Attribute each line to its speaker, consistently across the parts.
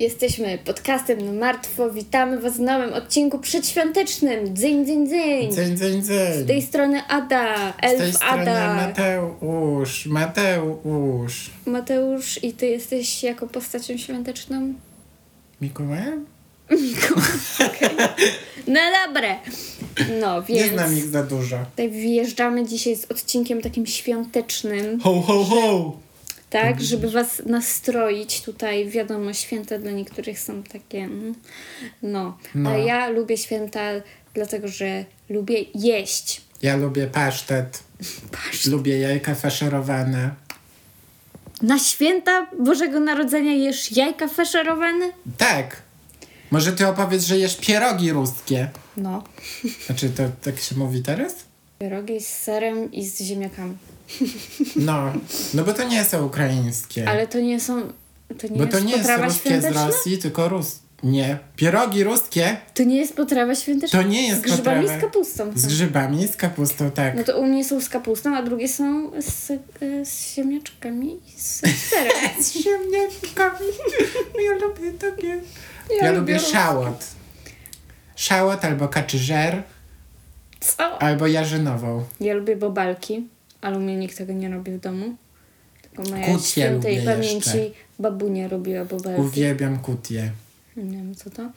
Speaker 1: Jesteśmy podcastem na martwo. Witamy Was w nowym odcinku przedświątecznym. Dzyń, dzyń, dzyń.
Speaker 2: Dzień, dzień, dzień.
Speaker 1: Z tej strony Ada,
Speaker 2: Z tej
Speaker 1: elf
Speaker 2: strony
Speaker 1: Ada.
Speaker 2: Mateusz, Mateusz.
Speaker 1: Mateusz, i Ty jesteś jako postacią świąteczną?
Speaker 2: Mikołajem?
Speaker 1: No dobre. No,
Speaker 2: Nie
Speaker 1: więc
Speaker 2: znam ich za dużo.
Speaker 1: tutaj wyjeżdżamy dzisiaj z odcinkiem takim świątecznym,
Speaker 2: Ho, ho, ho!
Speaker 1: tak? Żeby Was nastroić tutaj. Wiadomo, święta dla niektórych są takie... mm, No.
Speaker 2: No.
Speaker 1: A ja lubię święta dlatego, że lubię jeść.
Speaker 2: Ja lubię pasztet. Lubię jajka faszerowane.
Speaker 1: Na święta Bożego Narodzenia jesz jajka faszerowane?
Speaker 2: Tak. Może ty opowiedz, że jesz pierogi ruskie.
Speaker 1: No.
Speaker 2: Znaczy, to tak się mówi teraz?
Speaker 1: Pierogi z serem i z ziemniakami.
Speaker 2: No, no bo to nie są ukraińskie.
Speaker 1: Ale to nie są... To nie
Speaker 2: bo
Speaker 1: jest
Speaker 2: to nie jest
Speaker 1: potrawa
Speaker 2: ruskie z
Speaker 1: świąteczna?
Speaker 2: Rosji, tylko rus... Nie. Pierogi ruskie
Speaker 1: To nie jest potrawa świąteczna?
Speaker 2: to nie jest
Speaker 1: Z grzybami
Speaker 2: potrawa-
Speaker 1: z kapustą.
Speaker 2: Z grzybami, z kapustą, tak.
Speaker 1: No to u mnie są z kapustą, a drugie są z, e, z ziemniaczkami i z serem.
Speaker 2: z ziemniakami. No Ja lubię takie.
Speaker 1: Ja
Speaker 2: Ja,
Speaker 1: lubię
Speaker 2: lubię
Speaker 1: ruskie.
Speaker 2: szałot. Szałot albo kaczyżer,
Speaker 1: Co?
Speaker 2: albo jarzynową.
Speaker 1: Ja lubię bobalki, ale u mnie nikt tego nie robi w domu. Tylko moja
Speaker 2: Kucie
Speaker 1: świętej
Speaker 2: lubię
Speaker 1: pamięci
Speaker 2: jeszcze.
Speaker 1: babunia robiła bobalki.
Speaker 2: Uwielbiam kutię.
Speaker 1: Nie wiem co to.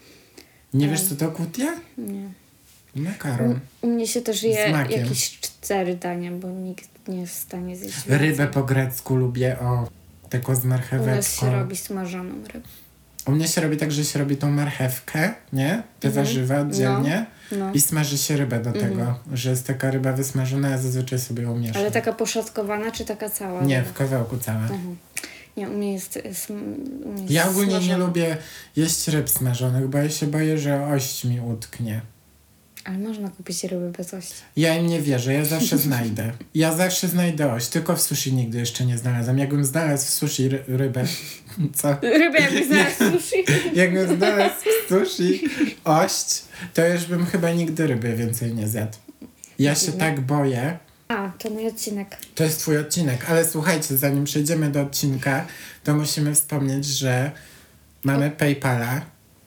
Speaker 2: Nie wiesz,
Speaker 1: Tak.
Speaker 2: co to kutia? No,
Speaker 1: Nie.
Speaker 2: Makaron.
Speaker 1: U mnie się też je
Speaker 2: Z makiem.
Speaker 1: jakieś cztery dania, bo nikt nie jest w stanie zjeść
Speaker 2: Rybę
Speaker 1: więcej.
Speaker 2: po grecku lubię, o. Taką z
Speaker 1: U nas
Speaker 2: marcheweczką.
Speaker 1: się robi smażoną rybę.
Speaker 2: U mnie się robi tak, że się robi tą marchewkę, nie? Te warzywa oddzielnie.
Speaker 1: Mhm. no. Mhm.
Speaker 2: I smaży się rybę do tego, że jest taka ryba wysmażona, ja zazwyczaj sobie ją mieszam.
Speaker 1: Ale taka poszatkowana, czy taka cała?
Speaker 2: Nie,
Speaker 1: ryba?
Speaker 2: w kawałku całe.
Speaker 1: Mhm. Nie, u mnie jest, jest, u mnie jest
Speaker 2: Ja ogólnie nie
Speaker 1: smażona.
Speaker 2: lubię jeść ryb smażonych, bo ja się boję, że ość mi utknie.
Speaker 1: Ale można kupić ryby bez ości.
Speaker 2: Ja im nie wierzę, ja zawsze znajdę. Ja zawsze znajdę ość, tylko w sushi nigdy jeszcze nie znalazłam. Jakbym znalazł w sushi ry- rybę, co?
Speaker 1: Ryby jakby znalazł sushi.
Speaker 2: Jakbym znalazł w sushi ość, to już bym chyba nigdy ryby więcej nie zjadł. Ja się tak boję.
Speaker 1: A, to mój odcinek.
Speaker 2: To jest twój odcinek, ale słuchajcie, zanim przejdziemy do odcinka, to musimy wspomnieć, że mamy PayPala.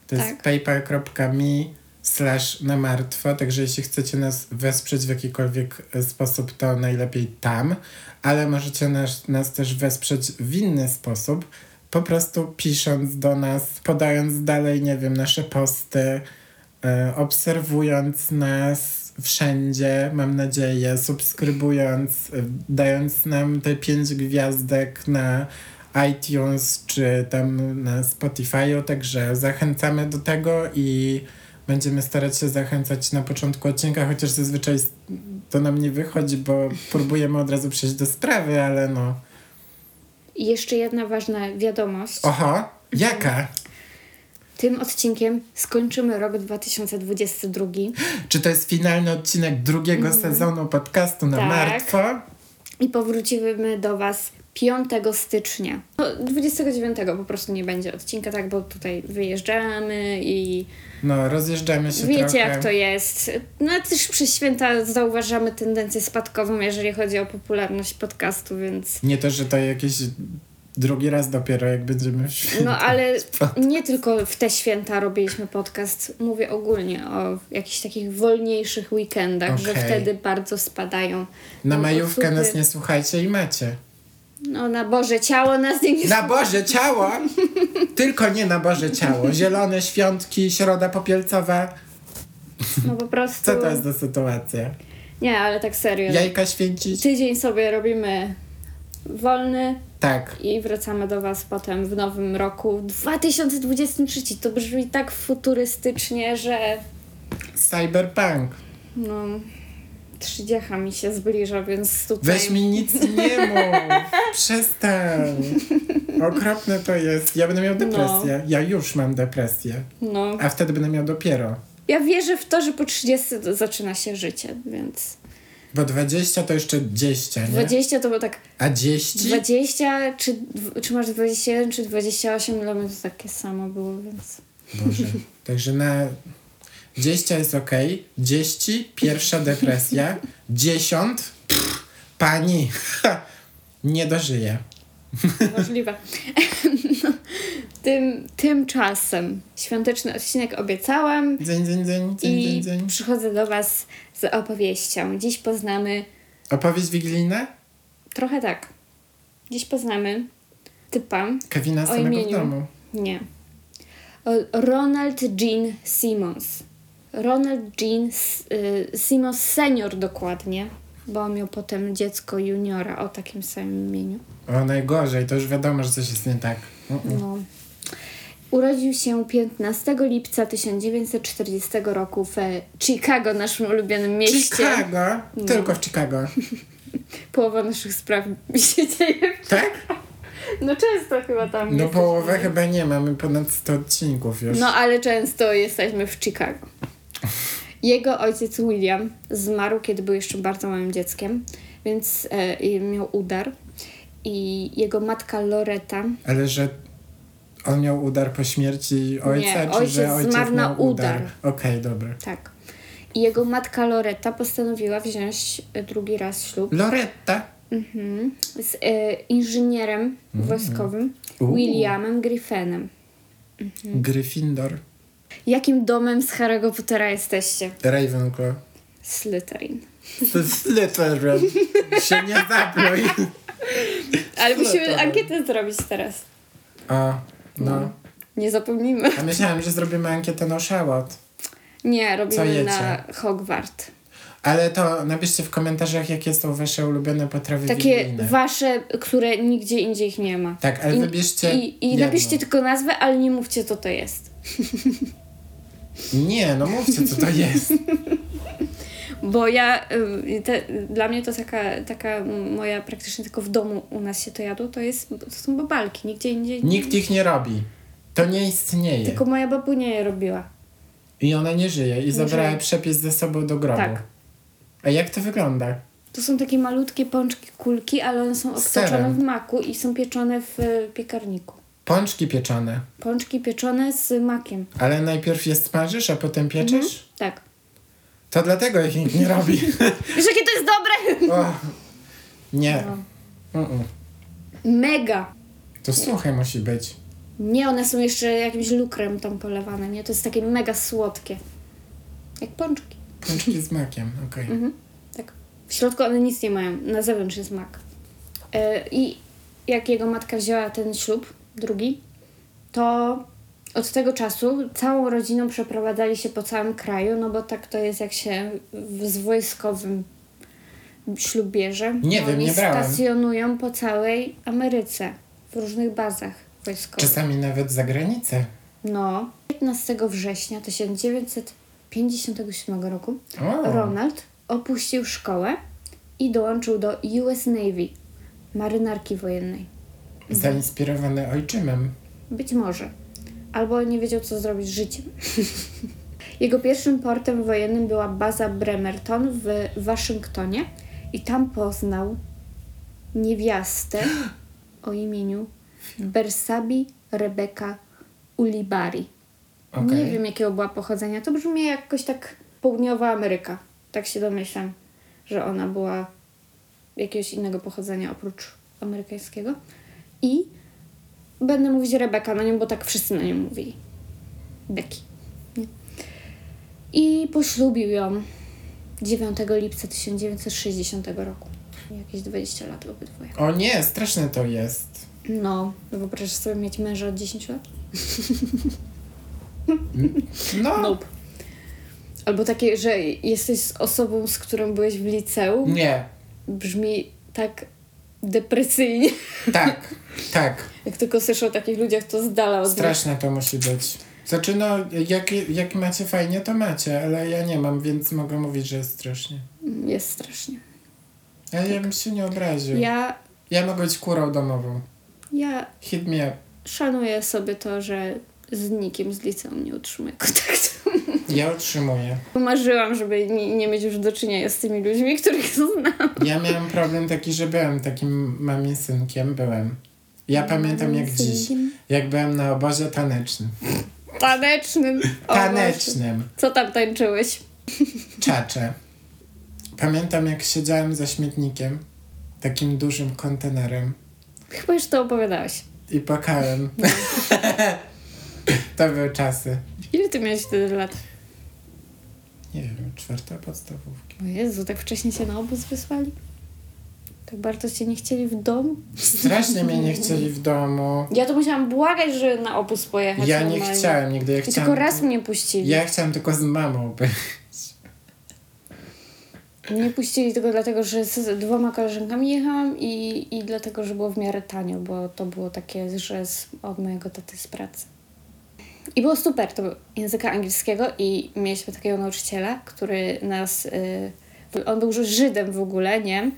Speaker 2: To jest
Speaker 1: Tak.
Speaker 2: paypal.me slash na martwo, także jeśli chcecie nas wesprzeć w jakikolwiek e, sposób, to najlepiej tam, ale możecie nas, nas też wesprzeć w inny sposób, po prostu pisząc do nas, podając dalej, nie wiem, nasze posty, e, obserwując nas wszędzie, mam nadzieję, subskrybując, e, dając nam te pięć gwiazdek na iTunes czy tam na Spotify'u, także zachęcamy do tego i będziemy starać się zachęcać na początku odcinka, chociaż zazwyczaj s- to nam nie wychodzi, bo próbujemy od razu przejść do sprawy, ale no.
Speaker 1: I jeszcze jedna ważna wiadomość.
Speaker 2: Oho, jaka?
Speaker 1: Tym odcinkiem skończymy rok 2022.
Speaker 2: Czy to jest finalny odcinek drugiego sezonu podcastu na
Speaker 1: Tak.
Speaker 2: martwo?
Speaker 1: I powrócimy do Was 5 stycznia. No, 29 po prostu nie będzie odcinka, tak, bo tutaj wyjeżdżamy i
Speaker 2: No, rozjeżdżamy się
Speaker 1: wiecie
Speaker 2: trochę.
Speaker 1: jak to jest. No też przez święta zauważamy tendencję spadkową, jeżeli chodzi o popularność podcastu, więc
Speaker 2: Nie to, że to jakiś drugi raz dopiero, jak będziemy w święta.
Speaker 1: No ale nie tylko w te święta robiliśmy podcast, mówię ogólnie o jakichś takich wolniejszych weekendach, że
Speaker 2: Okej.
Speaker 1: wtedy bardzo spadają.
Speaker 2: Na
Speaker 1: nam
Speaker 2: majówkę
Speaker 1: odsłuchy.
Speaker 2: nas nie słuchajcie i macie.
Speaker 1: No na Boże ciało nas nie...
Speaker 2: Na Boże Ciało! Tylko nie na Boże Ciało. Zielone świątki, środa popielcowa.
Speaker 1: No po prostu...
Speaker 2: Co to jest za sytuacja?
Speaker 1: Nie, ale tak serio.
Speaker 2: Jajka święcić?
Speaker 1: Tydzień sobie robimy wolny
Speaker 2: Tak.
Speaker 1: i wracamy do Was potem w nowym roku 2023. To brzmi tak futurystycznie, że
Speaker 2: Cyberpunk.
Speaker 1: no... Trzydziecha mi się zbliża, więc tutaj...
Speaker 2: Weź mi nic nie mów. Przestań. Okropne to jest. Ja będę miał depresję. Ja już mam depresję.
Speaker 1: No.
Speaker 2: A wtedy będę miał dopiero.
Speaker 1: Ja wierzę w to, że po 30 to zaczyna się życie, więc
Speaker 2: Bo 20 to jeszcze 10, nie?
Speaker 1: 20 to było tak
Speaker 2: A 10?
Speaker 1: 20, czy, dw- czy masz 21, czy 28, dla mnie to takie samo było, więc
Speaker 2: Boże. Także na 10 jest ok. 10, pierwsza depresja. 10, pff, pani, nie dożyje.
Speaker 1: Możliwe. No, Tym, tymczasem świąteczny odcinek obiecałam
Speaker 2: Dzień, dzień, dzień, dzień,
Speaker 1: i
Speaker 2: dzień, dzień.
Speaker 1: przychodzę do Was z opowieścią. Dziś poznamy
Speaker 2: Opowieść wigilijna?
Speaker 1: trochę tak. Dziś poznamy typa
Speaker 2: Kevina
Speaker 1: o
Speaker 2: samego w
Speaker 1: imieniu.
Speaker 2: domu.
Speaker 1: Nie. O- Ronald Jean Simmons. Ronald Jean S- y, Simmons senior dokładnie, bo miał potem dziecko juniora o takim samym imieniu.
Speaker 2: O, najgorzej, to już wiadomo, że coś jest nie tak. Mm, mm.
Speaker 1: No. Urodził się 15 lipca 1940 roku w e, Chicago, naszym ulubionym mieście.
Speaker 2: Chicago? Tylko w Chicago.
Speaker 1: Połowa naszych spraw się dzieje.
Speaker 2: Tak?
Speaker 1: No często chyba tam.
Speaker 2: No
Speaker 1: jesteśmy.
Speaker 2: połowę chyba nie, mamy ponad 100 odcinków już.
Speaker 1: No ale często jesteśmy w Chicago. Jego ojciec William zmarł, kiedy był jeszcze bardzo małym dzieckiem, więc e, i miał udar. I jego matka Loreta.
Speaker 2: Ale że on miał udar po śmierci ojca,
Speaker 1: Nie,
Speaker 2: czy
Speaker 1: ojciec
Speaker 2: że ojciec
Speaker 1: zmarł na
Speaker 2: miał udar?
Speaker 1: udar.
Speaker 2: Okej, dobra.
Speaker 1: Tak. I jego matka Loreta postanowiła wziąć e, drugi raz ślub.
Speaker 2: Loretta.
Speaker 1: Mhm. z e, inżynierem wojskowym
Speaker 2: Mhm. Uuu.
Speaker 1: Williamem Griffinem.
Speaker 2: Gryffindor.
Speaker 1: Jakim domem z Harry'ego Pottera jesteście?
Speaker 2: Ravenclaw.
Speaker 1: Slytherin.
Speaker 2: To jest Slytherin. się nie zapluj.
Speaker 1: Ale musimy
Speaker 2: Slytherin.
Speaker 1: ankietę zrobić teraz.
Speaker 2: O, no.
Speaker 1: Nie zapomnijmy.
Speaker 2: A myślałam, że zrobimy ankietę na szałot.
Speaker 1: Nie,
Speaker 2: Co
Speaker 1: robimy
Speaker 2: jecie?
Speaker 1: na Hogwart.
Speaker 2: Ale to napiszcie w komentarzach, jakie są wasze ulubione potrawy
Speaker 1: Takie
Speaker 2: wigilijne.
Speaker 1: wasze, które nigdzie indziej ich nie ma.
Speaker 2: Tak, ale
Speaker 1: I,
Speaker 2: wybierzcie
Speaker 1: I, i
Speaker 2: jedno.
Speaker 1: napiszcie tylko nazwę, ale nie mówcie, co to jest.
Speaker 2: Nie, no mówcie, co to jest.
Speaker 1: Bo ja, y, te, dla mnie to taka, taka moja, praktycznie tylko w domu u nas się to jadło, to, jest, to są babalki, nigdzie indziej.
Speaker 2: Nikt ich nie robi. To nie istnieje.
Speaker 1: Tylko moja babunia je robiła.
Speaker 2: I ona nie żyje. I zabrała
Speaker 1: żyje.
Speaker 2: przepis ze sobą do grobu.
Speaker 1: Tak.
Speaker 2: A jak to wygląda?
Speaker 1: To są takie malutkie pączki kulki, ale one są
Speaker 2: Z
Speaker 1: obtoczone
Speaker 2: serem.
Speaker 1: w maku i są pieczone w e, piekarniku.
Speaker 2: Pączki pieczone.
Speaker 1: Pączki pieczone z makiem.
Speaker 2: Ale najpierw je smażysz, a potem pieczysz?
Speaker 1: Tak.
Speaker 2: To dlatego ich nikt nie robi.
Speaker 1: Wiesz, jakie to jest dobre?
Speaker 2: O, nie. Mm-mm.
Speaker 1: Mega!
Speaker 2: To suche musi być.
Speaker 1: Nie, one są jeszcze jakimś lukrem tam polewane, nie? To jest takie mega słodkie. Jak pączki.
Speaker 2: Pączki z makiem, okej.
Speaker 1: Mhm. Tak. W środku one nic nie mają, na zewnątrz jest mak. E, I jak jego matka wzięła ten ślub, drugi, to od tego czasu całą rodziną przeprowadzali się po całym kraju, no bo tak to jest, jak się w, z wojskowym ślub bierze.
Speaker 2: Nie wiem,
Speaker 1: Oni
Speaker 2: nie brałem.
Speaker 1: stacjonują po całej Ameryce, w różnych bazach wojskowych.
Speaker 2: Czasami nawet za granicę.
Speaker 1: No, 15 września 1957 roku
Speaker 2: O.
Speaker 1: Ronald opuścił szkołę i dołączył do US Navy, marynarki wojennej.
Speaker 2: Mhm. Zainspirowany ojczymem.
Speaker 1: Być może. Albo nie wiedział, co zrobić z życiem. Jego pierwszym portem wojennym była baza Bremerton w Waszyngtonie i tam poznał niewiastę o imieniu Bersabi Rebeka Ulibari.
Speaker 2: Okej.
Speaker 1: Nie wiem, jakiego była pochodzenia. To brzmi jakoś tak południowa Ameryka. Tak się domyślam, że ona była jakiegoś innego pochodzenia oprócz amerykańskiego. I będę mówić Rebeka na nią, bo tak wszyscy na nią mówili. Becky. Nie? I poślubił ją 9 lipca 1960 roku. Jakieś 20 lat obydwoje.
Speaker 2: O nie, straszne to jest.
Speaker 1: No, wyobrażasz sobie mieć męża od 10 lat?
Speaker 2: No,
Speaker 1: Nope. Albo takie, że jesteś z osobą, z którą byłeś w liceum,
Speaker 2: nie.
Speaker 1: brzmi tak depresyjnie.
Speaker 2: Tak, tak.
Speaker 1: Jak tylko słyszę o takich ludziach, to z dala od nas.
Speaker 2: Straszne to musi być. Znaczy no, jak, jak macie fajnie, to macie, ale ja nie mam, więc mogę mówić, że jest strasznie.
Speaker 1: Jest strasznie.
Speaker 2: Ja, ja bym się nie obraził. Tak. Ja...
Speaker 1: Ja,
Speaker 2: mogę być kurą domową.
Speaker 1: ja
Speaker 2: Hit me up.
Speaker 1: szanuję sobie to, że z nikim z liceum nie utrzymuję kontaktu.
Speaker 2: Ja utrzymuję.
Speaker 1: Marzyłam, żeby nie, nie mieć już do czynienia z tymi ludźmi, których znam.
Speaker 2: Ja miałem problem taki, że byłem takim mamie synkiem, byłem. Ja pamiętam jak dziś,
Speaker 1: Synkiem?
Speaker 2: jak byłem na obozie tanecznym.
Speaker 1: Tanecznym. O Boże.
Speaker 2: Tanecznym.
Speaker 1: Co tam tańczyłeś?
Speaker 2: Czacze. Pamiętam jak siedziałem za śmietnikiem, takim dużym kontenerem
Speaker 1: Chyba już to opowiadałeś.
Speaker 2: I płakałem. to były czasy.
Speaker 1: Ile ty miałeś wtedy lat?
Speaker 2: Nie wiem, czwarta podstawówka.
Speaker 1: O Jezu, tak wcześnie cię na obóz wysłali? Tak bardzo cię nie chcieli w domu?
Speaker 2: Strasznie mnie nie chcieli w domu.
Speaker 1: Ja to musiałam błagać, żeby na obóz pojechać.
Speaker 2: Ja nie
Speaker 1: normalnie.
Speaker 2: chciałem nigdy. Ja
Speaker 1: I tylko
Speaker 2: chciałem,
Speaker 1: raz mnie puścili.
Speaker 2: ja chciałem tylko z mamą być.
Speaker 1: Mnie puścili tylko dlatego, że z dwoma koleżankami jechałam i, i dlatego, że było w miarę tanio, bo to było takie, że z, od mojego taty z pracy. I było super, to był języka angielskiego i mieliśmy takiego nauczyciela, który nas... Y, on był już Żydem w ogóle, nie?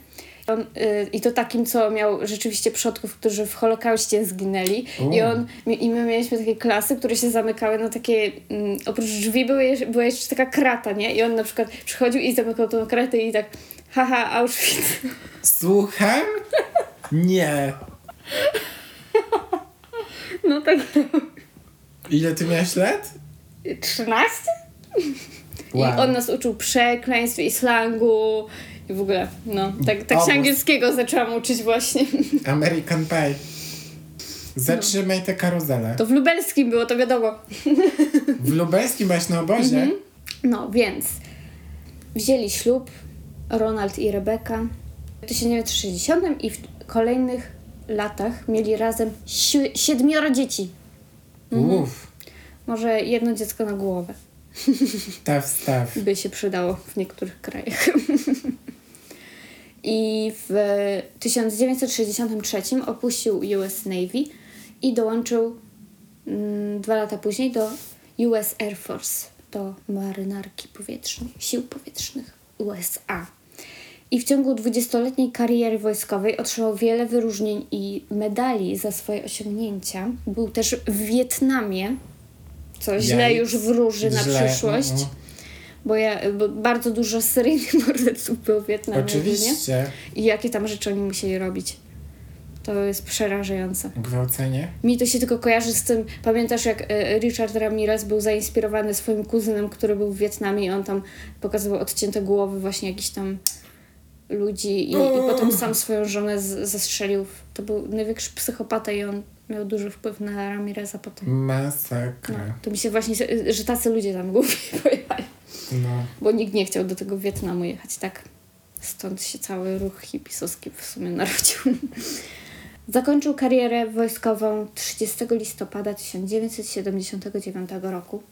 Speaker 1: I On, y, I to takim, co miał rzeczywiście przodków, którzy w Holokauście zginęli. I
Speaker 2: O.
Speaker 1: on i my mieliśmy takie klasy, które się zamykały na takie. Mm, oprócz drzwi były, jeż- była jeszcze taka krata, nie? I on na przykład przychodził i zamykał tą kratę i tak. Haha, Auschwitz.
Speaker 2: Słucham? Nie.
Speaker 1: No tak.
Speaker 2: Ile ty miałeś lat?
Speaker 1: 13? I on nas uczył przekleństw i slangu i w ogóle. No, tak, tak
Speaker 2: Obóz.
Speaker 1: się angielskiego zaczęłam uczyć właśnie.
Speaker 2: American Pie. Zatrzymaj tę karuzelę.
Speaker 1: To w lubelskim było, to wiadomo.
Speaker 2: W lubelskim byłaś na obozie?
Speaker 1: No, więc wzięli ślub Ronald i Rebeka w 1960 i w kolejnych latach mieli razem si- siedmioro dzieci. mhm.
Speaker 2: Uff,
Speaker 1: Może jedno dziecko na głowę
Speaker 2: taw, staw.
Speaker 1: by się przydało w niektórych krajach. I w 1963 opuścił US Navy i dołączył mm, dwa lata później do US Air Force, do marynarki powietrznej, sił powietrznych USA. I w ciągu 20-letniej kariery wojskowej otrzymał wiele wyróżnień i medali za swoje osiągnięcia. Był też w Wietnamie, co źle
Speaker 2: Jaj.
Speaker 1: już wróży na
Speaker 2: Źle,
Speaker 1: przyszłość.
Speaker 2: mhm.
Speaker 1: Bo, ja, bo bardzo dużo seryjnych morderców było w Wietnamie. nie?
Speaker 2: Oczywiście.
Speaker 1: I jakie tam rzeczy oni musieli robić. To jest przerażające.
Speaker 2: Gwałcenie?
Speaker 1: Mi to się tylko kojarzy z tym, pamiętasz jak e, Richard Ramirez był zainspirowany swoim kuzynem, który był w Wietnamie i on tam pokazywał odcięte głowy właśnie jakichś tam ludzi i, i potem sam swoją żonę z, zastrzelił. To był największy psychopata i on miał duży wpływ na Ramireza potem. No,
Speaker 2: Masakra.
Speaker 1: To mi się właśnie, że tacy ludzie tam głównie pojawia
Speaker 2: No.
Speaker 1: bo nikt nie chciał do tego Wietnamu jechać, tak? Stąd się cały ruch hipisowski w sumie narodził. Zakończył karierę wojskową 30 listopada 1979 roku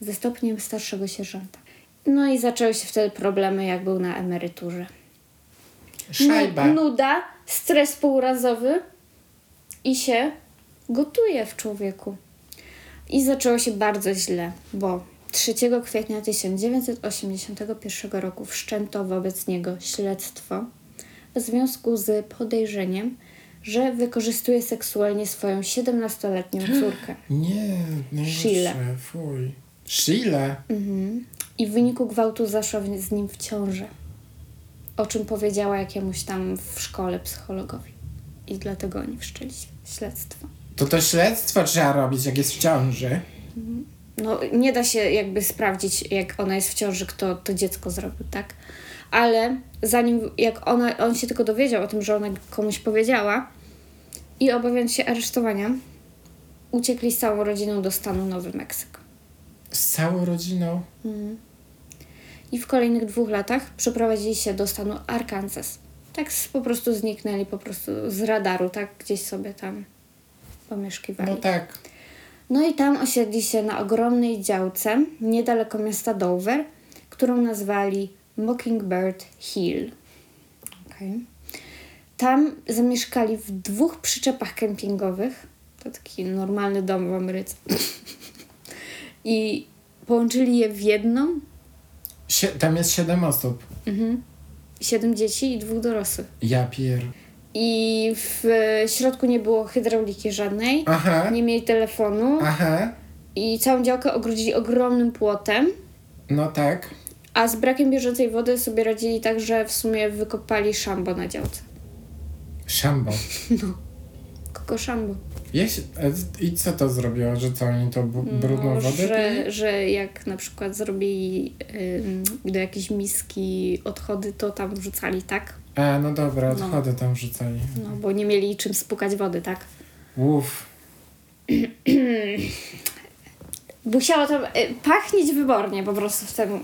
Speaker 1: ze stopniem starszego sierżanta. No i zaczęły się wtedy problemy, jak był na emeryturze. No,
Speaker 2: Szajba.
Speaker 1: Nu- Nuda, stres półrazowy i się gotuje w człowieku. I zaczęło się bardzo źle, bo 3 kwietnia 1981 roku wszczęto wobec niego śledztwo w związku z podejrzeniem, że wykorzystuje seksualnie swoją 17-letnią córkę.
Speaker 2: Nie,
Speaker 1: Shila.
Speaker 2: najgorsze. Fuj. Shila?
Speaker 1: I w wyniku gwałtu zaszła w- z nim w ciążę. O czym powiedziała jakiemuś tam w szkole psychologowi. I dlatego oni wszczęli śledztwo.
Speaker 2: To to śledztwo trzeba robić, jak jest w ciąży.
Speaker 1: No, nie da się jakby sprawdzić, jak ona jest w ciąży, kto to dziecko zrobił, tak? Ale zanim, jak ona, on się tylko dowiedział o tym, że ona komuś powiedziała i obawiając się aresztowania, uciekli z całą rodziną do stanu Nowy Meksyk.
Speaker 2: Z całą rodziną.
Speaker 1: i w kolejnych dwóch latach przeprowadzili się do stanu Arkansas. Tak z, po prostu zniknęli po prostu z radaru, tak gdzieś sobie tam pomieszkiwali.
Speaker 2: No tak.
Speaker 1: No i tam osiedli się na ogromnej działce niedaleko miasta Dover, którą nazwali Mockingbird Hill. Okej. Tam zamieszkali w dwóch przyczepach kempingowych. To taki normalny dom w Ameryce. I połączyli je w jedną,
Speaker 2: Sie- tam jest siedem osób.
Speaker 1: siedem dzieci i dwóch dorosłych.
Speaker 2: Ja pier...
Speaker 1: I w środku nie było hydrauliki żadnej,
Speaker 2: Aha.
Speaker 1: nie mieli telefonu
Speaker 2: Aha.
Speaker 1: i całą działkę ogrodzili ogromnym płotem,
Speaker 2: No tak.
Speaker 1: a z brakiem bieżącej wody sobie radzili tak, że w sumie wykopali szambo na działce.
Speaker 2: Szambo.
Speaker 1: Kogo szambo?
Speaker 2: Jak się, e, I co to zrobiło, że co oni to bu- brudną
Speaker 1: No,
Speaker 2: wodę pili?
Speaker 1: że, że jak na przykład zrobili ym, do jakiejś miski odchody, to tam wrzucali, tak?
Speaker 2: A, no dobra, odchody tam rzucali.
Speaker 1: No, bo nie mieli czym spłukać wody, tak?
Speaker 2: Uff.
Speaker 1: Musiało to y, pachnieć wybornie po prostu w, tym,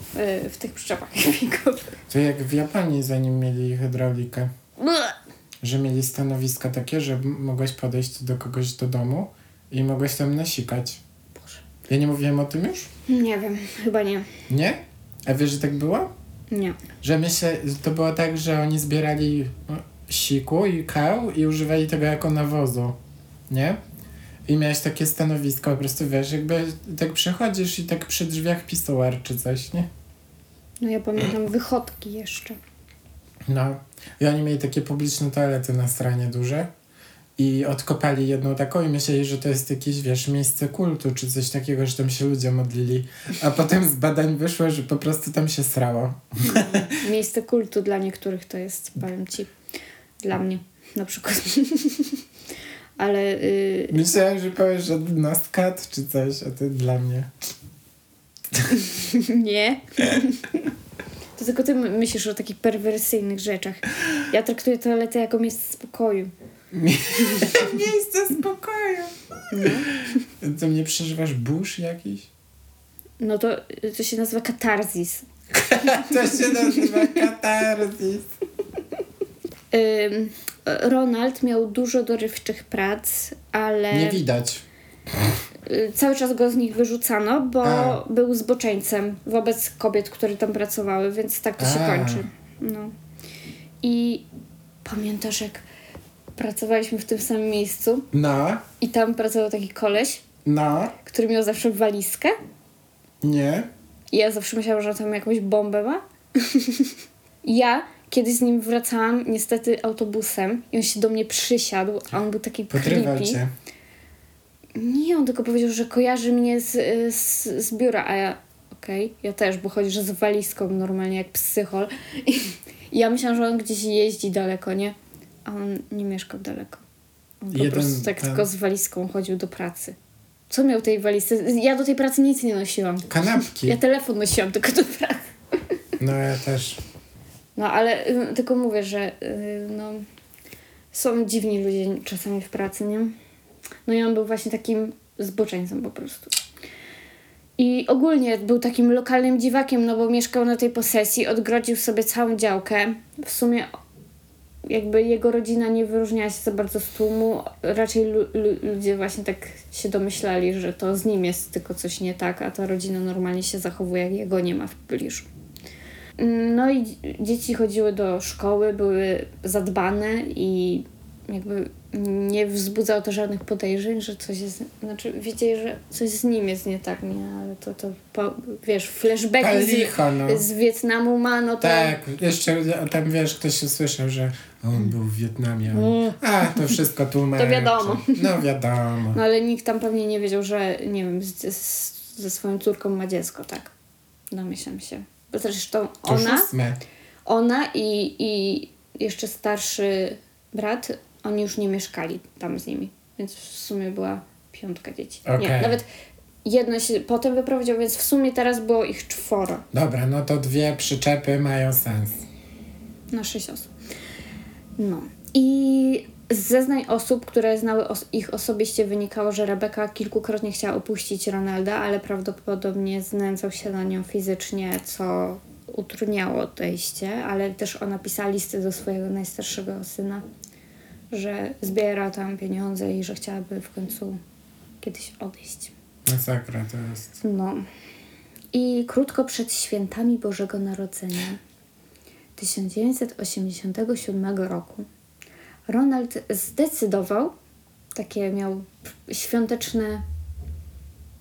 Speaker 1: y, w tych przyczepach śmigowych.
Speaker 2: To jak w Japonii, zanim mieli hydraulikę,
Speaker 1: Bleh.
Speaker 2: że mieli stanowiska takie, że m- mogłeś podejść do kogoś do domu i mogłeś tam nasikać.
Speaker 1: Boże.
Speaker 2: Ja nie mówiłem o tym już?
Speaker 1: Nie wiem, chyba nie.
Speaker 2: Nie? A wiesz, że tak było?
Speaker 1: Nie.
Speaker 2: Że myślę, że to było tak, że oni zbierali no, siku i kał i używali tego jako nawozu, nie? I miałeś takie stanowisko, po prostu wiesz, jakby tak przechodzisz i tak przy drzwiach pistołar czy coś, nie?
Speaker 1: No ja pamiętam wychodki jeszcze.
Speaker 2: No. I oni mieli takie publiczne toalety na stronie duże i odkopali jedną taką i myśleli, że to jest jakieś, wiesz, miejsce kultu czy coś takiego, że tam się ludzie modlili. A potem z badań wyszło, że po prostu tam się srało.
Speaker 1: Miejsce kultu dla niektórych to jest, powiem ci. Dla mnie na przykład. Ale y,
Speaker 2: Myślałem, że powiesz, że kat czy coś, a to dla mnie.
Speaker 1: nie. To tylko ty myślisz o takich perwersyjnych rzeczach. Ja traktuję toaletę jako miejsce spokoju.
Speaker 2: Miejsce spokoju. To Hmm. mnie przeżywasz burz jakiś?
Speaker 1: No to, to się nazywa katarzis.
Speaker 2: To się nazywa katarzis.
Speaker 1: Ym, Ronald miał dużo dorywczych prac, ale
Speaker 2: Nie widać.
Speaker 1: y, cały czas go z nich wyrzucano, bo
Speaker 2: A.
Speaker 1: był zboczeńcem wobec kobiet, które tam pracowały, więc tak to się
Speaker 2: A.
Speaker 1: kończy. No. I pamiętasz, jak pracowaliśmy w tym samym miejscu
Speaker 2: No,
Speaker 1: i tam pracował taki koleś,
Speaker 2: no,
Speaker 1: który miał zawsze walizkę
Speaker 2: nie.
Speaker 1: i ja zawsze myślałam, że on tam jakąś bombę ma. ja kiedyś z nim wracałam niestety autobusem i on się do mnie przysiadł, a on był taki
Speaker 2: Podrywał
Speaker 1: creepy.
Speaker 2: cię.
Speaker 1: Nie, on tylko powiedział, że kojarzy mnie z, y, z, z biura, a ja okej, ja też, bo chodzisz z walizką normalnie jak psychol. I ja myślałam, że on gdzieś jeździ daleko, nie? A on nie mieszkał daleko. On po
Speaker 2: Jeden
Speaker 1: prostu tak
Speaker 2: ten-
Speaker 1: tylko z walizką chodził do pracy. Co miał tej walizce? Ja do tej pracy nic nie nosiłam.
Speaker 2: Kanapki.
Speaker 1: Ja telefon nosiłam tylko do pracy.
Speaker 2: No ja też.
Speaker 1: No ale y, tylko mówię, że y, no, są dziwni ludzie czasami w pracy, nie? No i on był właśnie takim zboczeńcem po prostu. I ogólnie był takim lokalnym dziwakiem, no bo mieszkał na tej posesji, odgrodził sobie całą działkę. W sumie jakby jego rodzina nie wyróżniała się za bardzo z tłumu, raczej lu- lu- ludzie właśnie tak się domyślali, że to z nim jest tylko coś nie tak, a ta rodzina normalnie się zachowuje, jak jego nie ma w pobliżu. No i dzie- dzieci chodziły do szkoły, były zadbane i jakby nie wzbudzało to żadnych podejrzeń, że coś jest, znaczy wiedzieli, że coś z nim jest nie tak, nie, ale to, to po, wiesz, flashbacki Tak, z,
Speaker 2: Palicho, no.
Speaker 1: z Wietnamu ma, no to...
Speaker 2: Tak, jeszcze a tam wiesz, ktoś się słyszał, że on był w Wietnamie. a on- A, to wszystko tłumaczy.
Speaker 1: Mm. To wiadomo.
Speaker 2: No wiadomo.
Speaker 1: No ale nikt tam pewnie nie wiedział, że nie wiem, z, z, ze swoją córką ma dziecko, tak? Domyślam się. Bo zresztą
Speaker 2: To już
Speaker 1: ona,
Speaker 2: ósme.
Speaker 1: ona i, i jeszcze starszy brat, oni już nie mieszkali tam z nimi. Więc w sumie była piątka dzieci. Nie,
Speaker 2: Okej.
Speaker 1: nawet jedno się potem wyprowadziło, więc w sumie teraz było ich czworo.
Speaker 2: Dobra, no to dwie przyczepy mają sens.
Speaker 1: na sześć osób. No. I z zeznań osób, które znały os- ich osobiście, wynikało, że Rebeka kilkukrotnie chciała opuścić Ronalda, ale prawdopodobnie znęcał się na nią fizycznie, co utrudniało odejście, ale też ona pisała listy do swojego najstarszego syna, że zbiera tam pieniądze i że chciałaby w końcu kiedyś odejść.
Speaker 2: Masakra to jest.
Speaker 1: No. I krótko przed świętami Bożego Narodzenia 1987 roku Ronald zdecydował, takie miał p- świąteczne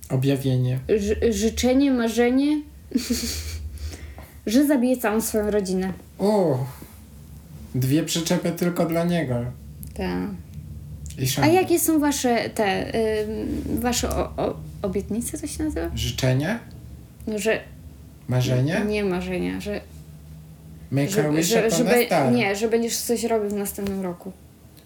Speaker 2: Objawienie.
Speaker 1: ży- życzenie, marzenie, że zabije całą swoją rodzinę.
Speaker 2: O, dwie przyczepy tylko dla niego.
Speaker 1: Tak.
Speaker 2: I
Speaker 1: A
Speaker 2: szanowni.
Speaker 1: jakie są wasze te, ym, wasze o, o, obietnice, to się nazywa?
Speaker 2: Życzenia?
Speaker 1: No, że
Speaker 2: Marzenia?
Speaker 1: nie marzenia, że
Speaker 2: Make a
Speaker 1: Żeby,
Speaker 2: wish
Speaker 1: że,
Speaker 2: upon
Speaker 1: że,
Speaker 2: a
Speaker 1: be-
Speaker 2: star.
Speaker 1: nie, że będziesz coś robił w następnym roku.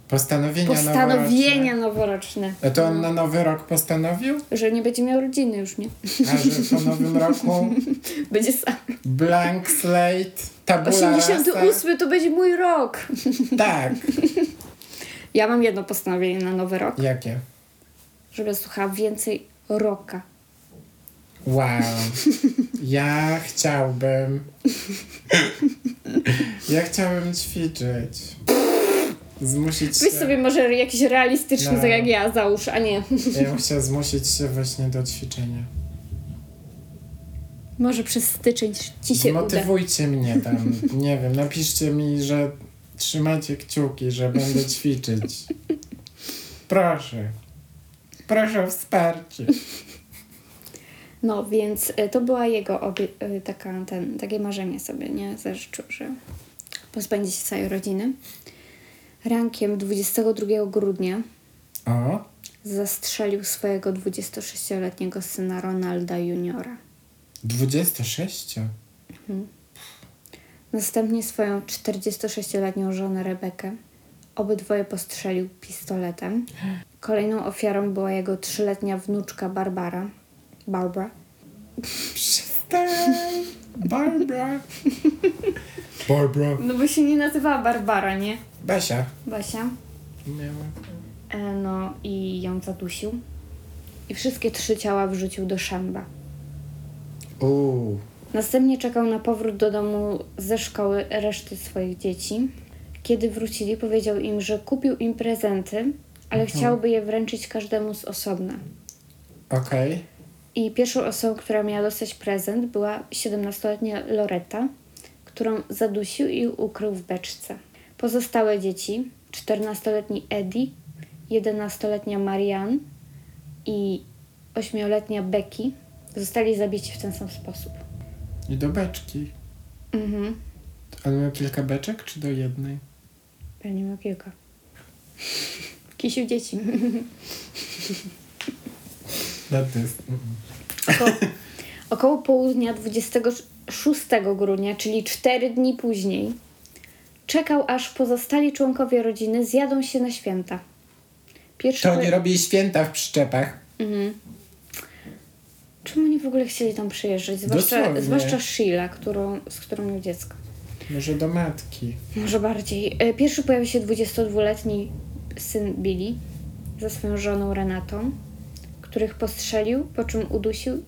Speaker 2: Postanowienia,
Speaker 1: Postanowienia
Speaker 2: noworoczne. No
Speaker 1: noworoczne.
Speaker 2: A to on na nowy rok postanowił?
Speaker 1: Że nie będzie miał rodziny już, nie?
Speaker 2: A że po nowym roku
Speaker 1: Będzie sam.
Speaker 2: blank slate, tabula rasa.
Speaker 1: 88 to będzie mój rok.
Speaker 2: Tak.
Speaker 1: Ja mam jedno postanowienie na nowy rok,
Speaker 2: Jakie?
Speaker 1: żeby słuchała więcej roka.
Speaker 2: Wow. Ja chciałbym. Ja chciałbym ćwiczyć. Zmusić
Speaker 1: Weź
Speaker 2: się.
Speaker 1: sobie może jakiś realistyczny,
Speaker 2: No.
Speaker 1: tak jak ja, załóż, a nie.
Speaker 2: Ja bym chciał zmusić się właśnie do ćwiczenia.
Speaker 1: Może przez styczeń ci się uda.
Speaker 2: Motywujcie mnie tam. Nie wiem, napiszcie mi, że trzymacie kciuki, że będę ćwiczyć. Proszę. Proszę o wsparcie.
Speaker 1: No, więc y, to była jego obie- y, taka, ten, takie marzenie sobie, nie? Zażyczył, że pozbędzie się całej rodziny. Rankiem 22 grudnia
Speaker 2: O,
Speaker 1: zastrzelił swojego 26-letniego syna Ronalda Juniora.
Speaker 2: 26.
Speaker 1: Następnie swoją 46-letnią żonę Rebekę. Obydwoje postrzelił pistoletem. Kolejną ofiarą była jego trzyletnia wnuczka Barbara. Barbara.
Speaker 2: Przestań. Barbara. Barbara.
Speaker 1: No bo się nie nazywała Barbara, nie?
Speaker 2: Basia.
Speaker 1: Basia.
Speaker 2: Miała.
Speaker 1: E, no i ją zadusił. I wszystkie trzy ciała wrzucił do szamba.
Speaker 2: Uuu.
Speaker 1: Następnie czekał na powrót do domu ze szkoły reszty swoich dzieci. Kiedy wrócili, powiedział im, że kupił im prezenty, ale chciałby je wręczyć każdemu z osobna.
Speaker 2: Okej.
Speaker 1: I pierwszą osobą, która miała dostać prezent, była 17-letnia Loreta, którą zadusił i ukrył w beczce. Pozostałe dzieci, 14-letni Eddie, 11-letnia Marianne i 8-letnia Becky, zostali zabici w ten sam sposób.
Speaker 2: I do beczki.
Speaker 1: Mhm,
Speaker 2: On miał kilka beczek, czy do jednej?
Speaker 1: pewnie miał kilka. Kisiu dzieci.
Speaker 2: Na dysk. Mm.
Speaker 1: Około, około południa 26 grudnia, czyli 4 dni później, czekał aż pozostali członkowie rodziny zjadą się na święta. Pierwszy
Speaker 2: To nie robili święta w przyczepach.
Speaker 1: Czemu oni w ogóle chcieli tam przyjeżdżać? Zwłaszcza,
Speaker 2: Dosłownie.
Speaker 1: zwłaszcza Sheila, którą, z którą miał dziecko.
Speaker 2: Może do matki.
Speaker 1: Może bardziej. E, Pierwszy pojawił się 22-letni syn Billy ze swoją żoną Renatą, których postrzelił, po czym udusił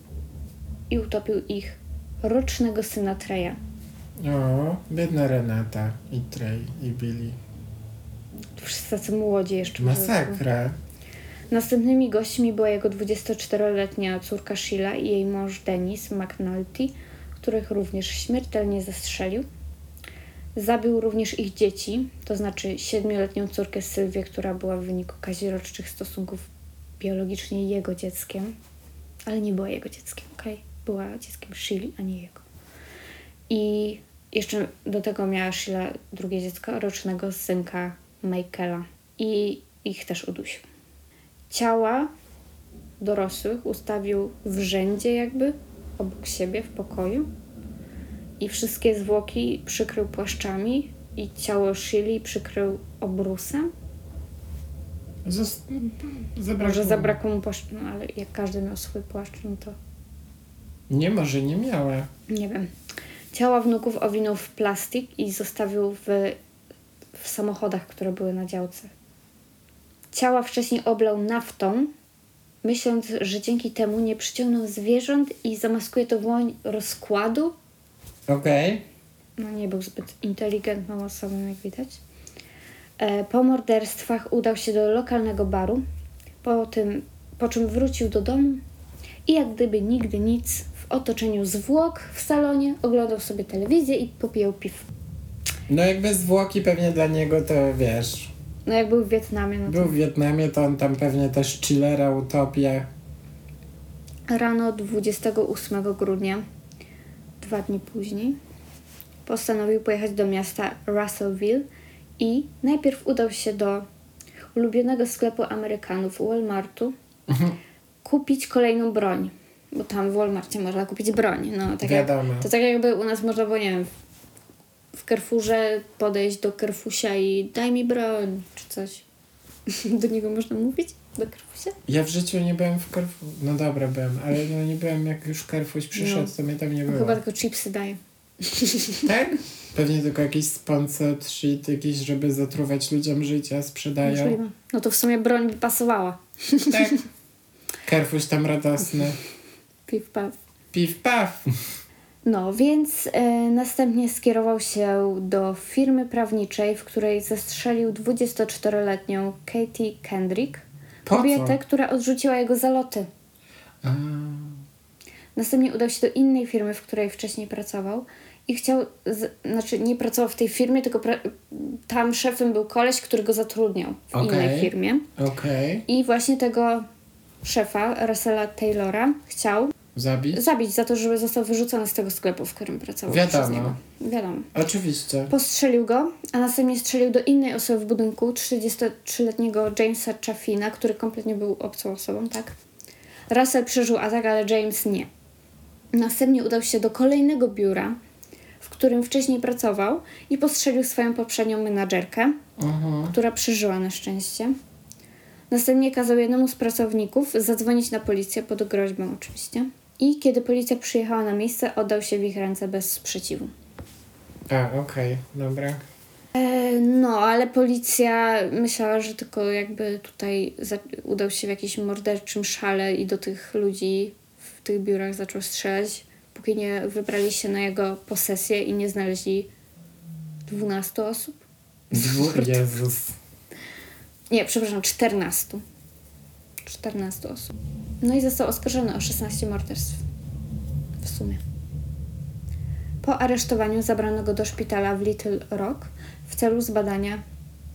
Speaker 1: i utopił ich rocznego syna Treja.
Speaker 2: O, biedna Renata i Trey i Billy.
Speaker 1: Wszyscy tacy młodzi jeszcze. po prostu.
Speaker 2: Masakra.
Speaker 1: Następnymi gośćmi była jego 24-letnia córka Sheila i jej mąż Denis McNulty, których również śmiertelnie zastrzelił. Zabił również ich dzieci, to znaczy 7-letnią córkę Sylwię, która była w wyniku kazirocznych stosunków biologicznie jego dzieckiem, ale nie była jego dzieckiem, okej? Była dzieckiem Sheili, a nie jego. I jeszcze do tego miała Sheila drugie dziecko, rocznego synka Michaela. I ich też udusił ciała dorosłych ustawił w rzędzie jakby obok siebie w pokoju i wszystkie zwłoki przykrył płaszczami i ciało Shili przykrył obrusem.
Speaker 2: Zost... Zabrakło.
Speaker 1: Może zabrakło mu płaszczu, no ale jak każdy miał swój płaszcz, no to
Speaker 2: Nie, może nie miała.
Speaker 1: nie wiem. Ciała wnuków owinął w plastik i zostawił w, w samochodach, które były na działce. Ciała wcześniej oblał naftą, myśląc, że dzięki temu nie przyciągną zwierząt i zamaskuje to woń rozkładu.
Speaker 2: Okej.
Speaker 1: No nie był zbyt inteligentną osobą, jak widać. E, po morderstwach udał się do lokalnego baru, po, tym, po czym wrócił do domu i jak gdyby nigdy nic w otoczeniu zwłok w salonie oglądał sobie telewizję i popijał piw.
Speaker 2: No jakby zwłoki pewnie dla niego to wiesz.
Speaker 1: No jak był w Wietnamie, no to
Speaker 2: Był w Wietnamie, to on tam pewnie też chillera utopie.
Speaker 1: Rano 28 grudnia, dwa dni później, postanowił pojechać do miasta Russellville i najpierw udał się do ulubionego sklepu Amerykanów Walmartu
Speaker 2: Mhm.
Speaker 1: kupić kolejną broń. Bo tam w Walmarcie można kupić broń. No, tak jak,
Speaker 2: Wiadomo.
Speaker 1: to tak jakby u nas można było, nie wiem, w Kerfurze podejść do Kerfusia i daj mi broń, czy coś. Do niego można mówić? Do Karpusia?
Speaker 2: Ja w życiu nie byłem w Carrefour. No dobra, byłem, ale no nie byłem jak już Carrefour przyszedł, to mnie tam nie
Speaker 1: On
Speaker 2: było.
Speaker 1: No. chyba tylko chipsy daje.
Speaker 2: Tak? Pewnie tylko jakiś sponsor, shit, jakiś, żeby zatruwać ludziom życie, sprzedają.
Speaker 1: Możliwe. No to w sumie broń by pasowała.
Speaker 2: Tak. Carrefour tam radosny.
Speaker 1: Piw, paw.
Speaker 2: Piw, paw.
Speaker 1: No, więc e, następnie skierował się do firmy prawniczej, w której zastrzelił 24-letnią Katie Kendrick,
Speaker 2: Po co?
Speaker 1: kobietę, która odrzuciła jego zaloty.
Speaker 2: A,
Speaker 1: Następnie udał się do innej firmy, w której wcześniej pracował i chciał, z, znaczy nie pracował w tej firmie, tylko pra, tam szefem był koleś, który go zatrudniał w innej
Speaker 2: Okej.
Speaker 1: firmie.
Speaker 2: Okej.
Speaker 1: I właśnie tego szefa, Russella Taylora, chciał
Speaker 2: Zabić?
Speaker 1: zabić za to, żeby został wyrzucony z tego sklepu, w którym pracował.
Speaker 2: Wiadomo.
Speaker 1: przez niego. Wiadomo.
Speaker 2: Oczywiście.
Speaker 1: Postrzelił go, a następnie strzelił do innej osoby w budynku, 33-letniego Jamesa Chaffina, który kompletnie był obcą osobą, tak? Russell przeżył atak, ale James nie. Następnie udał się do kolejnego biura, w którym wcześniej pracował i postrzelił swoją poprzednią menadżerkę,
Speaker 2: Mhm.
Speaker 1: która przeżyła na szczęście. Następnie kazał jednemu z pracowników zadzwonić na policję pod groźbą oczywiście. I kiedy policja przyjechała na miejsce, oddał się w ich ręce bez sprzeciwu.
Speaker 2: A, okej, dobra.
Speaker 1: E, No, ale policja myślała, że tylko jakby tutaj za- udał się w jakimś morderczym szale i do tych ludzi w tych biurach zaczął strzelać, póki nie wybrali się na jego posesję i nie znaleźli 12 osób.
Speaker 2: Dwu... Jezus.
Speaker 1: Nie, przepraszam, 14. 14 osób. No i został oskarżony o 16 morderstw. W sumie. Po aresztowaniu zabrano go do szpitala w Little Rock w celu zbadania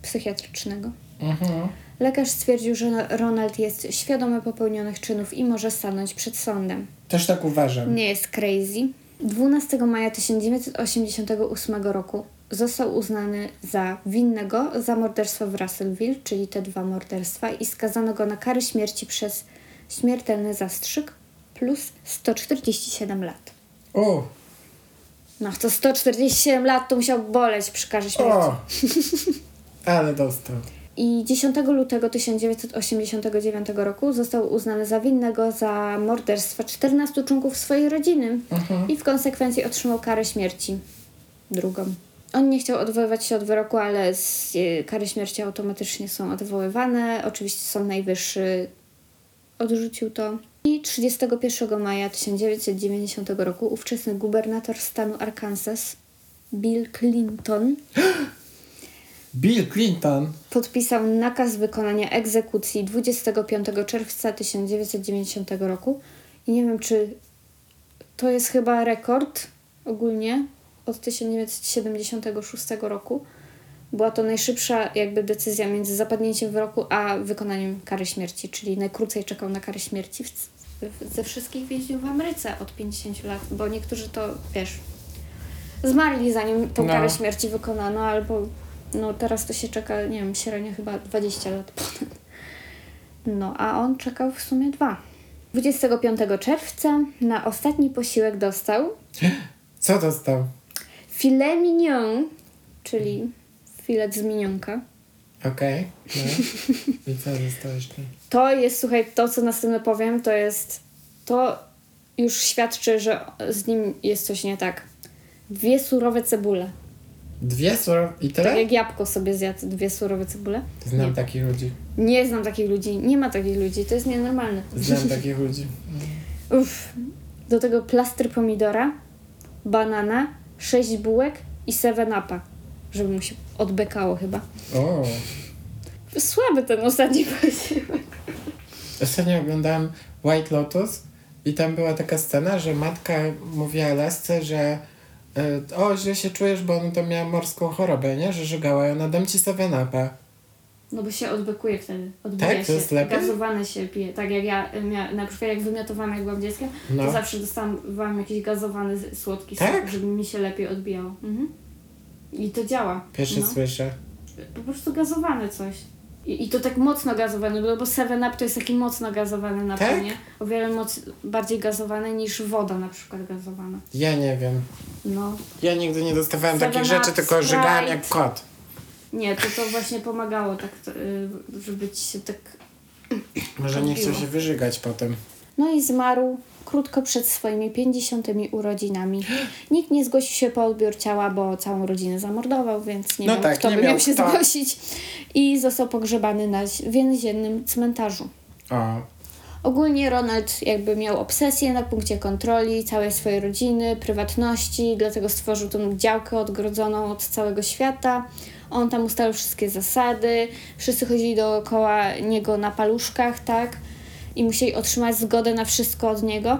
Speaker 1: psychiatrycznego.
Speaker 2: Mhm.
Speaker 1: Lekarz stwierdził, że Ronald jest świadomy popełnionych czynów i może stanąć przed sądem.
Speaker 2: Też tak uważam.
Speaker 1: Nie jest crazy. 12 maja 1988 roku został uznany za winnego za morderstwo w Russellville, czyli te dwa morderstwa, i skazano go na karę śmierci przez śmiertelny zastrzyk plus 147 lat.
Speaker 2: U,
Speaker 1: No, to 147 lat to musiał boleć przy karze śmierci.
Speaker 2: o! Ale dostał.
Speaker 1: I 10 lutego 1989 roku został uznany za winnego za morderstwa 14 członków swojej rodziny i w konsekwencji otrzymał karę śmierci. Drugą. On nie chciał odwoływać się od wyroku, ale z, e, kary śmierci automatycznie są odwoływane. Oczywiście Sąd Najwyższy odrzucił to. I 31 maja 1990 roku ówczesny gubernator stanu Arkansas Bill Clinton
Speaker 2: Bill Clinton.
Speaker 1: podpisał nakaz wykonania egzekucji 25 czerwca 1990 roku. I nie wiem, czy to jest chyba rekord ogólnie od 1976 roku. Była to najszybsza jakby decyzja między zapadnięciem wyroku a wykonaniem kary śmierci, czyli najkrócej czekał na karę śmierci w, w, ze wszystkich więźniów w Ameryce od 50 lat, bo niektórzy to, wiesz, zmarli zanim tą
Speaker 2: No.
Speaker 1: karę śmierci wykonano, albo no teraz to się czeka, nie wiem, średnio chyba 20 lat ponad. No, a on czekał w sumie dwa. 25 czerwca na ostatni posiłek dostał
Speaker 2: Co dostał?
Speaker 1: filet mignon, czyli filet z minionka.
Speaker 2: Okej. No. I co dostałeś? ty?
Speaker 1: To jest, słuchaj, to co następne powiem, to jest, to już świadczy, że z nim jest coś nie tak. Dwie surowe cebule.
Speaker 2: Dwie surowe... I
Speaker 1: Tak
Speaker 2: tyle?
Speaker 1: jak jabłko sobie zjadł, dwie surowe cebule.
Speaker 2: Znam tak.
Speaker 1: Nie.
Speaker 2: takich ludzi.
Speaker 1: Nie znam takich ludzi, nie ma takich ludzi, to jest nienormalne.
Speaker 2: Znam takich ludzi.
Speaker 1: Uff. Do tego plastry pomidora, banana, sześć bułek i 7-upa, żeby mu się odbekało chyba.
Speaker 2: O.
Speaker 1: Słaby ten ostatni posiłek.
Speaker 2: Ostatnio oglądałam White Lotus i tam była taka scena, że matka mówiła Lasce, że y, o, źle się czujesz, bo ona to miała morską chorobę, nie? Że żygała ją, dam ci 7-upa.
Speaker 1: No bo się odbekuje wtedy, odbija
Speaker 2: Tak? To
Speaker 1: się,
Speaker 2: jest lepiej?
Speaker 1: gazowane się pije. Tak jak ja y, mia- na przykład jak wymiotowana jak byłam dzieckiem, to
Speaker 2: No.
Speaker 1: zawsze dostałam jakiś gazowany z- słodki
Speaker 2: Tak?
Speaker 1: sok, żeby mi się lepiej odbijało. Mhm. I to działa.
Speaker 2: Pierwszy
Speaker 1: no.
Speaker 2: słyszę.
Speaker 1: Po prostu gazowane coś. I, I to tak mocno gazowane, bo, bo 7-Up to jest taki mocno gazowany napój,
Speaker 2: Tak?
Speaker 1: nie? O wiele moc, bardziej gazowany niż woda na przykład gazowana.
Speaker 2: Ja nie wiem.
Speaker 1: No.
Speaker 2: Ja nigdy nie dostawałem
Speaker 1: Seven
Speaker 2: takich rzeczy,
Speaker 1: Up,
Speaker 2: tylko żygałem
Speaker 1: Sprite.
Speaker 2: jak kot.
Speaker 1: Nie, to to właśnie pomagało tak, y, żeby ci się tak...
Speaker 2: Może nie chciał
Speaker 1: Odbiło.
Speaker 2: się wyżygać potem.
Speaker 1: No i zmarł krótko przed swoimi 50 urodzinami. Nikt nie zgłosił się po odbiór ciała, bo całą rodzinę zamordował, więc nie
Speaker 2: No
Speaker 1: wiem,
Speaker 2: tak,
Speaker 1: kto
Speaker 2: nie
Speaker 1: by
Speaker 2: miał
Speaker 1: miał się
Speaker 2: kto.
Speaker 1: zgłosić. I został pogrzebany na zi- więziennym cmentarzu.
Speaker 2: O,
Speaker 1: Ogólnie Ronald jakby miał obsesję na punkcie kontroli całej swojej rodziny, prywatności, dlatego stworzył tą działkę odgrodzoną od całego świata. On tam ustalił wszystkie zasady, wszyscy chodzili dookoła niego na paluszkach, tak? I musieli otrzymać zgodę na wszystko od niego.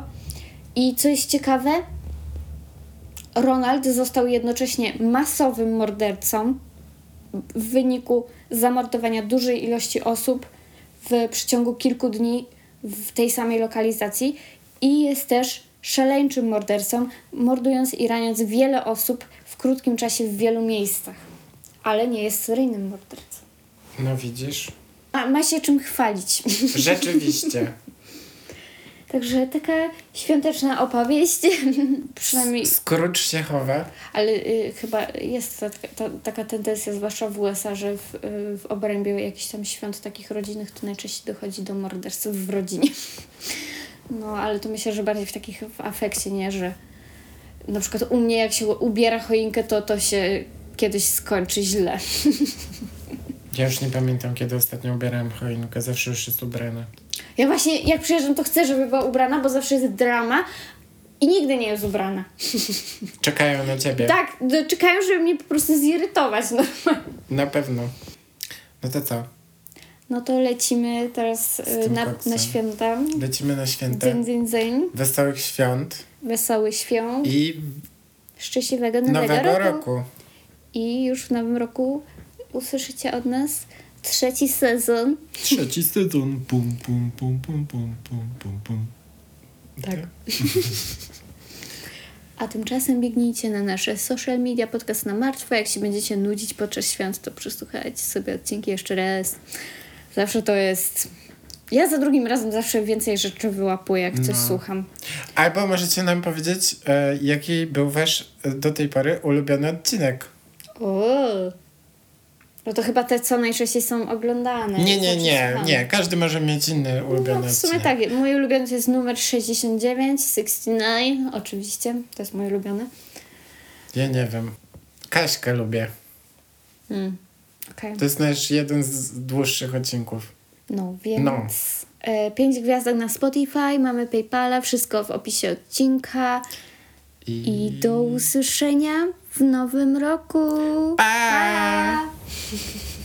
Speaker 1: I co jest ciekawe, Ronald został jednocześnie masowym mordercą w wyniku zamordowania dużej ilości osób w przeciągu kilku dni w tej samej lokalizacji i jest też szaleńczym mordercą, mordując i raniąc wiele osób w krótkim czasie w wielu miejscach. Ale nie jest seryjnym mordercą.
Speaker 2: no widzisz.
Speaker 1: A ma się czym chwalić.
Speaker 2: Rzeczywiście.
Speaker 1: Także taka świąteczna opowieść, przynajmniej
Speaker 2: Scrooge się chowa.
Speaker 1: Ale y, chyba jest ta, ta, taka tendencja, zwłaszcza w USA, że w, y, w obrębie jakichś tam świąt takich rodzinnych to najczęściej dochodzi do morderstw w rodzinie. No, ale to myślę, że bardziej w takich w afekcie, nie? Że na przykład u mnie jak się ubiera choinkę, to to się kiedyś skończy źle.
Speaker 2: Ja już nie pamiętam, kiedy ostatnio ubierałem choinkę. Zawsze już jest ubrana.
Speaker 1: Ja właśnie jak przyjeżdżam, to chcę, żeby była ubrana, bo zawsze jest drama i nigdy nie jest ubrana.
Speaker 2: Czekają na ciebie.
Speaker 1: Tak, no, czekają, żeby mnie po prostu zirytować no. normalnie.
Speaker 2: Na pewno. No to co?
Speaker 1: No to lecimy teraz y,
Speaker 2: tym
Speaker 1: na,
Speaker 2: koksem.
Speaker 1: na święta.
Speaker 2: Lecimy na święta.
Speaker 1: Dzyń, dzyń, dzyń.
Speaker 2: Wesołych świąt
Speaker 1: Wesoły świąt.
Speaker 2: i
Speaker 1: Szczęśliwego nowego,
Speaker 2: nowego
Speaker 1: roku.
Speaker 2: roku.
Speaker 1: I już w nowym roku usłyszycie od nas trzeci sezon.
Speaker 2: Trzeci sezon. Pum, pum, pum, pum, pum, pum, pum, pum.
Speaker 1: Tak. A tymczasem biegnijcie na nasze social media, podcast na martwo. Jak się będziecie nudzić podczas świąt, to przesłuchajcie sobie odcinki jeszcze raz. Zawsze to jest... Ja za drugim razem zawsze więcej rzeczy wyłapuję, jak coś
Speaker 2: No.
Speaker 1: słucham.
Speaker 2: Albo możecie nam powiedzieć, e, jaki był wasz e, do tej pory ulubiony odcinek.
Speaker 1: O. No to chyba te, co najczęściej są oglądane.
Speaker 2: Nie,
Speaker 1: E, co
Speaker 2: nie, nie,
Speaker 1: przesłuchane.
Speaker 2: nie. Każdy może mieć inny ulubiony
Speaker 1: No, w sumie
Speaker 2: odcinek.
Speaker 1: tak. Mój ulubiony to jest numer 69, 69, oczywiście. To jest mój ulubiony.
Speaker 2: Ja nie wiem. Kaśkę lubię.
Speaker 1: Mm. Okej.
Speaker 2: To jest nasz jeden z dłuższych odcinków.
Speaker 1: No, więc...
Speaker 2: No.
Speaker 1: E, pięć gwiazdek na Spotify, mamy Paypala, wszystko w opisie odcinka. I do usłyszenia w nowym roku.
Speaker 2: Pa!
Speaker 1: pa!